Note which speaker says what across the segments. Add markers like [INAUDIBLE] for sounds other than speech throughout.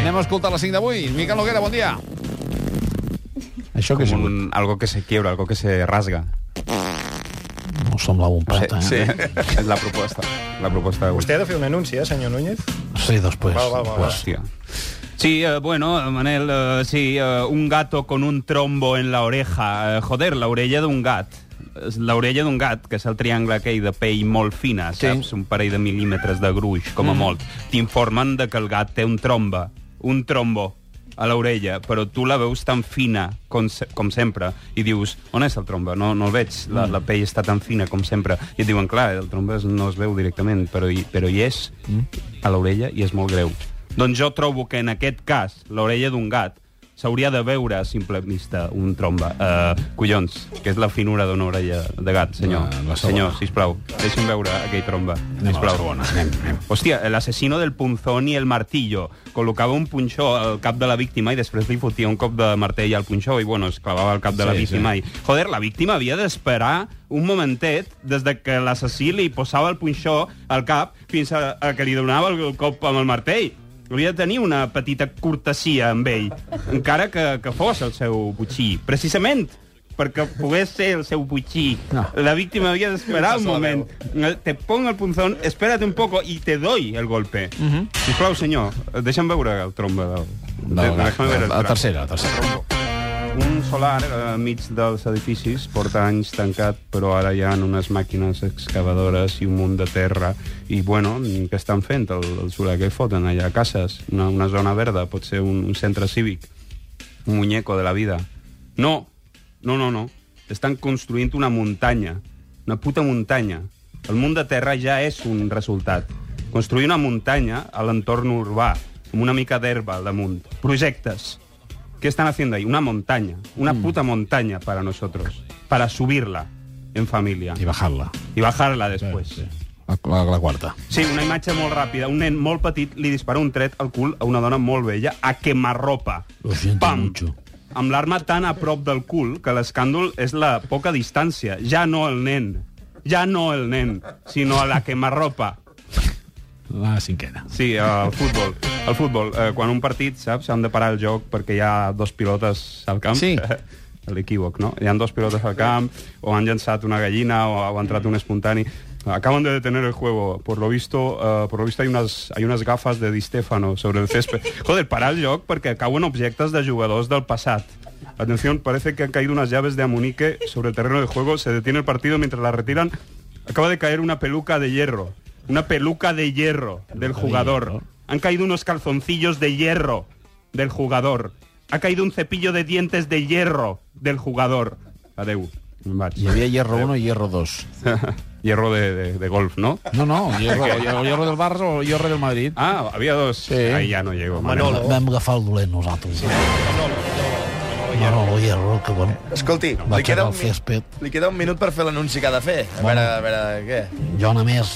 Speaker 1: Anem a escoltar les 5 d'avui. Miquel Noguera, bon dia.
Speaker 2: Això que és
Speaker 3: Como
Speaker 2: un...
Speaker 3: un, algo que se quiebra, algo que se rasga.
Speaker 2: No semblava un plat, eh?
Speaker 3: Sí, [LAUGHS] és la proposta. La proposta de
Speaker 4: Vostè ha de fer un anunci, eh, senyor Núñez?
Speaker 2: Sí, després.
Speaker 4: Va, va, va, va.
Speaker 2: Pues,
Speaker 3: Hòstia. Sí, eh, bueno, Manel, eh, sí, eh, un gato con un trombo en la oreja. Eh, joder, la orella d'un gat. És L'orella d'un gat, que és el triangle aquell de pell molt fina,
Speaker 1: Sí.
Speaker 3: saps? Un parell de mil·límetres de gruix, com a molt. T'informen de que el gat té un tromba, un trombo a l'orella, però tu la veus tan fina com, se com sempre, i dius, on és el tromba? No, no el veig, la, la pell està tan fina com sempre. I et diuen, clar, el tromba es- no es veu directament, però hi, però hi és, a l'orella, i és molt greu. Doncs jo trobo que en aquest cas, l'orella d'un gat, s'hauria de veure a simple vista un tromba. Uh, collons, que és la finura d'una orella de gat, senyor.
Speaker 2: La- la segona.
Speaker 3: No, senyor, sisplau, deixi'm veure aquell tromba. Sisplau. Hòstia, l'assassino del punzón i el martillo. Col·locava un punxó al cap de la víctima i després li fotia un cop de martell al punxó i, bueno, es clavava al cap de la
Speaker 2: Sí,
Speaker 3: víctima. Sí. I, joder, la víctima havia d'esperar un momentet des de que l'assassí li posava el punxó al cap fins a, a que li donava el cop amb el martell. Hauria de tenir una petita cortesia amb ell, encara que, que fos el seu butxí. Precisament perquè pogués ser el seu butxí.
Speaker 2: No.
Speaker 3: La víctima havia d'esperar un
Speaker 4: se la
Speaker 3: moment. Eh, Te pongo el punzón, espérate un poco y te doy el golpe. Uh -huh. Sisplau, senyor, deixa'm veure el tromba. Del...
Speaker 2: no,
Speaker 3: de-
Speaker 2: va,
Speaker 3: deixa'm veure el
Speaker 2: la, la
Speaker 3: trombo.
Speaker 2: tercera, la tercera.
Speaker 3: Un solar eh, enmig dels edificis porta anys tancat, però ara hi ha unes màquines excavadores i un munt de terra. I, bueno, què estan fent? El, el solar que foten allà a cases? Una, una zona verda, pot ser un, un centre cívic. Un muñeco de la vida. No, no, no, no. Estan construint una muntanya. Una puta muntanya. El munt de terra ja és un resultat. Construir una muntanya a l'entorn urbà, amb una mica d'herba al damunt. Projectes. ¿Qué están haciendo ahí? Una montaña, una
Speaker 2: Mm.
Speaker 3: puta montaña para nosotros, para subirla en familia
Speaker 2: I bajar-la.
Speaker 3: y bajarla después.
Speaker 2: Sí. La, la, la quarta.
Speaker 3: Sí, una imatge molt ràpida. Un nen molt petit li dispara un tret al cul a una dona molt vella a quemarropa.
Speaker 2: Lo siento
Speaker 3: Pam!
Speaker 2: mucho.
Speaker 3: Amb l'arma tan a prop del cul que l'escàndol és la poca distància. Ja no el nen, ja no el nen, sinó a la quemarropa.
Speaker 2: La cinquena.
Speaker 3: Sí, al futbol. Al futbol, eh, quan un partit, saps, han de parar el joc perquè hi ha dos pilotes al camp.
Speaker 1: Sí.
Speaker 3: [LAUGHS] L'equívoc, no? Hi han dos pilotes al camp, o han llançat una gallina, o ha entrat un espontani. Acaban de detener el juego. Por lo visto, eh, por lo visto hay unas, hay unas gafas de Di Stefano sobre el césped. Joder, parar el joc perquè cauen objectes de jugadors del passat. Atención, parece que han caído unas llaves de amunique sobre el terreno de juego. Se detiene el partido mientras la retiran. Acaba de caer una peluca de hierro. Una peluca de hierro del jugador. Han caído unos calzoncillos de hierro del jugador. Ha caído un cepillo de dientes de hierro del jugador. Adeu. Me'n vaig.
Speaker 2: Hi havia hierro 1 i hierro 2.
Speaker 3: hierro de, de- de golf, ¿no?
Speaker 2: No, no, hierro, o hierro del Barça o hierro del Madrid.
Speaker 3: Ah, había dos.
Speaker 2: Sí.
Speaker 3: Ahí ya no llego.
Speaker 4: Manolo.
Speaker 2: Vam agafar el dolent nosaltres. Manolo Hierro, que bueno,
Speaker 5: Escolti,
Speaker 2: va
Speaker 5: li
Speaker 2: aixecar
Speaker 5: queda, un,
Speaker 2: el césped.
Speaker 5: mi- li queda un minut per fer l'anunci que ha de fer. A veure, a veure, què?
Speaker 2: Jo només,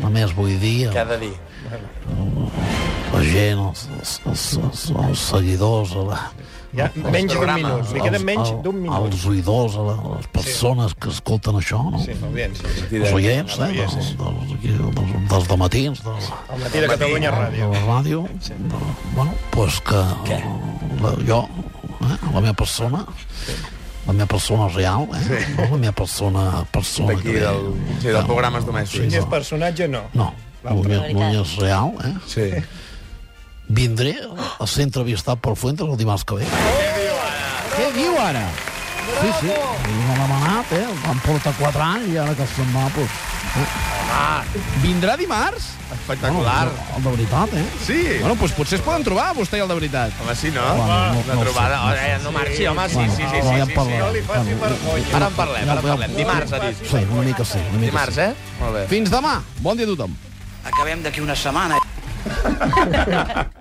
Speaker 2: només vull dir
Speaker 5: Què ha de dir?
Speaker 2: la gent, els, els, els, els, els seguidors, a la,
Speaker 4: Ja, menys d'un
Speaker 5: programa.
Speaker 4: minut. Li queda menys
Speaker 2: al-
Speaker 4: d'un minut.
Speaker 2: Als oïdors, a la- a les persones sí. que escolten això, no?
Speaker 4: Sí,
Speaker 2: Sí.
Speaker 4: l'audiència.
Speaker 2: Els oients, eh? Dels, dels, dels, dels dematins, de,
Speaker 4: Al matí de Catalunya
Speaker 2: de
Speaker 4: Ràdio.
Speaker 2: la ràdio. Sí. De, bueno, doncs pues que la, jo, eh? la meva persona, la meva persona real, eh? No la meva persona... persona
Speaker 5: D'aquí, del, sí, del programes domèstics.
Speaker 4: Ni el personatge, no.
Speaker 2: No, la meva, la meva és real, eh?
Speaker 5: Sí.
Speaker 2: Vindré a ser entrevistat per Fuentes el dimarts que ve. Què diu ara? Sí, sí, m'han demanat, eh? Em porta 4 anys i ara que se'n va, doncs...
Speaker 1: Vindrà dimarts?
Speaker 5: Espectacular.
Speaker 2: no, de veritat, eh?
Speaker 5: Sí.
Speaker 1: Bueno, doncs potser es poden trobar, vostè i el de veritat.
Speaker 5: Home, sí, no?
Speaker 2: Bueno, no-
Speaker 5: Una
Speaker 2: no ho
Speaker 5: trobada.
Speaker 2: sé.
Speaker 5: Oh, eh, no marxi, home, sí, sí, sí,
Speaker 2: Bueno,
Speaker 5: sí,
Speaker 2: ja en
Speaker 5: sí, sí.
Speaker 2: parlarem.
Speaker 4: No li faci vergonya.
Speaker 5: Ara en parlem, ara en parlem. Dimarts, ha dit.
Speaker 2: Sí, una mica sí, una mica
Speaker 5: Dimarts, eh? Molt bé.
Speaker 1: Fins demà. Bon dia a tothom.
Speaker 6: Acabem d'aquí una setmana.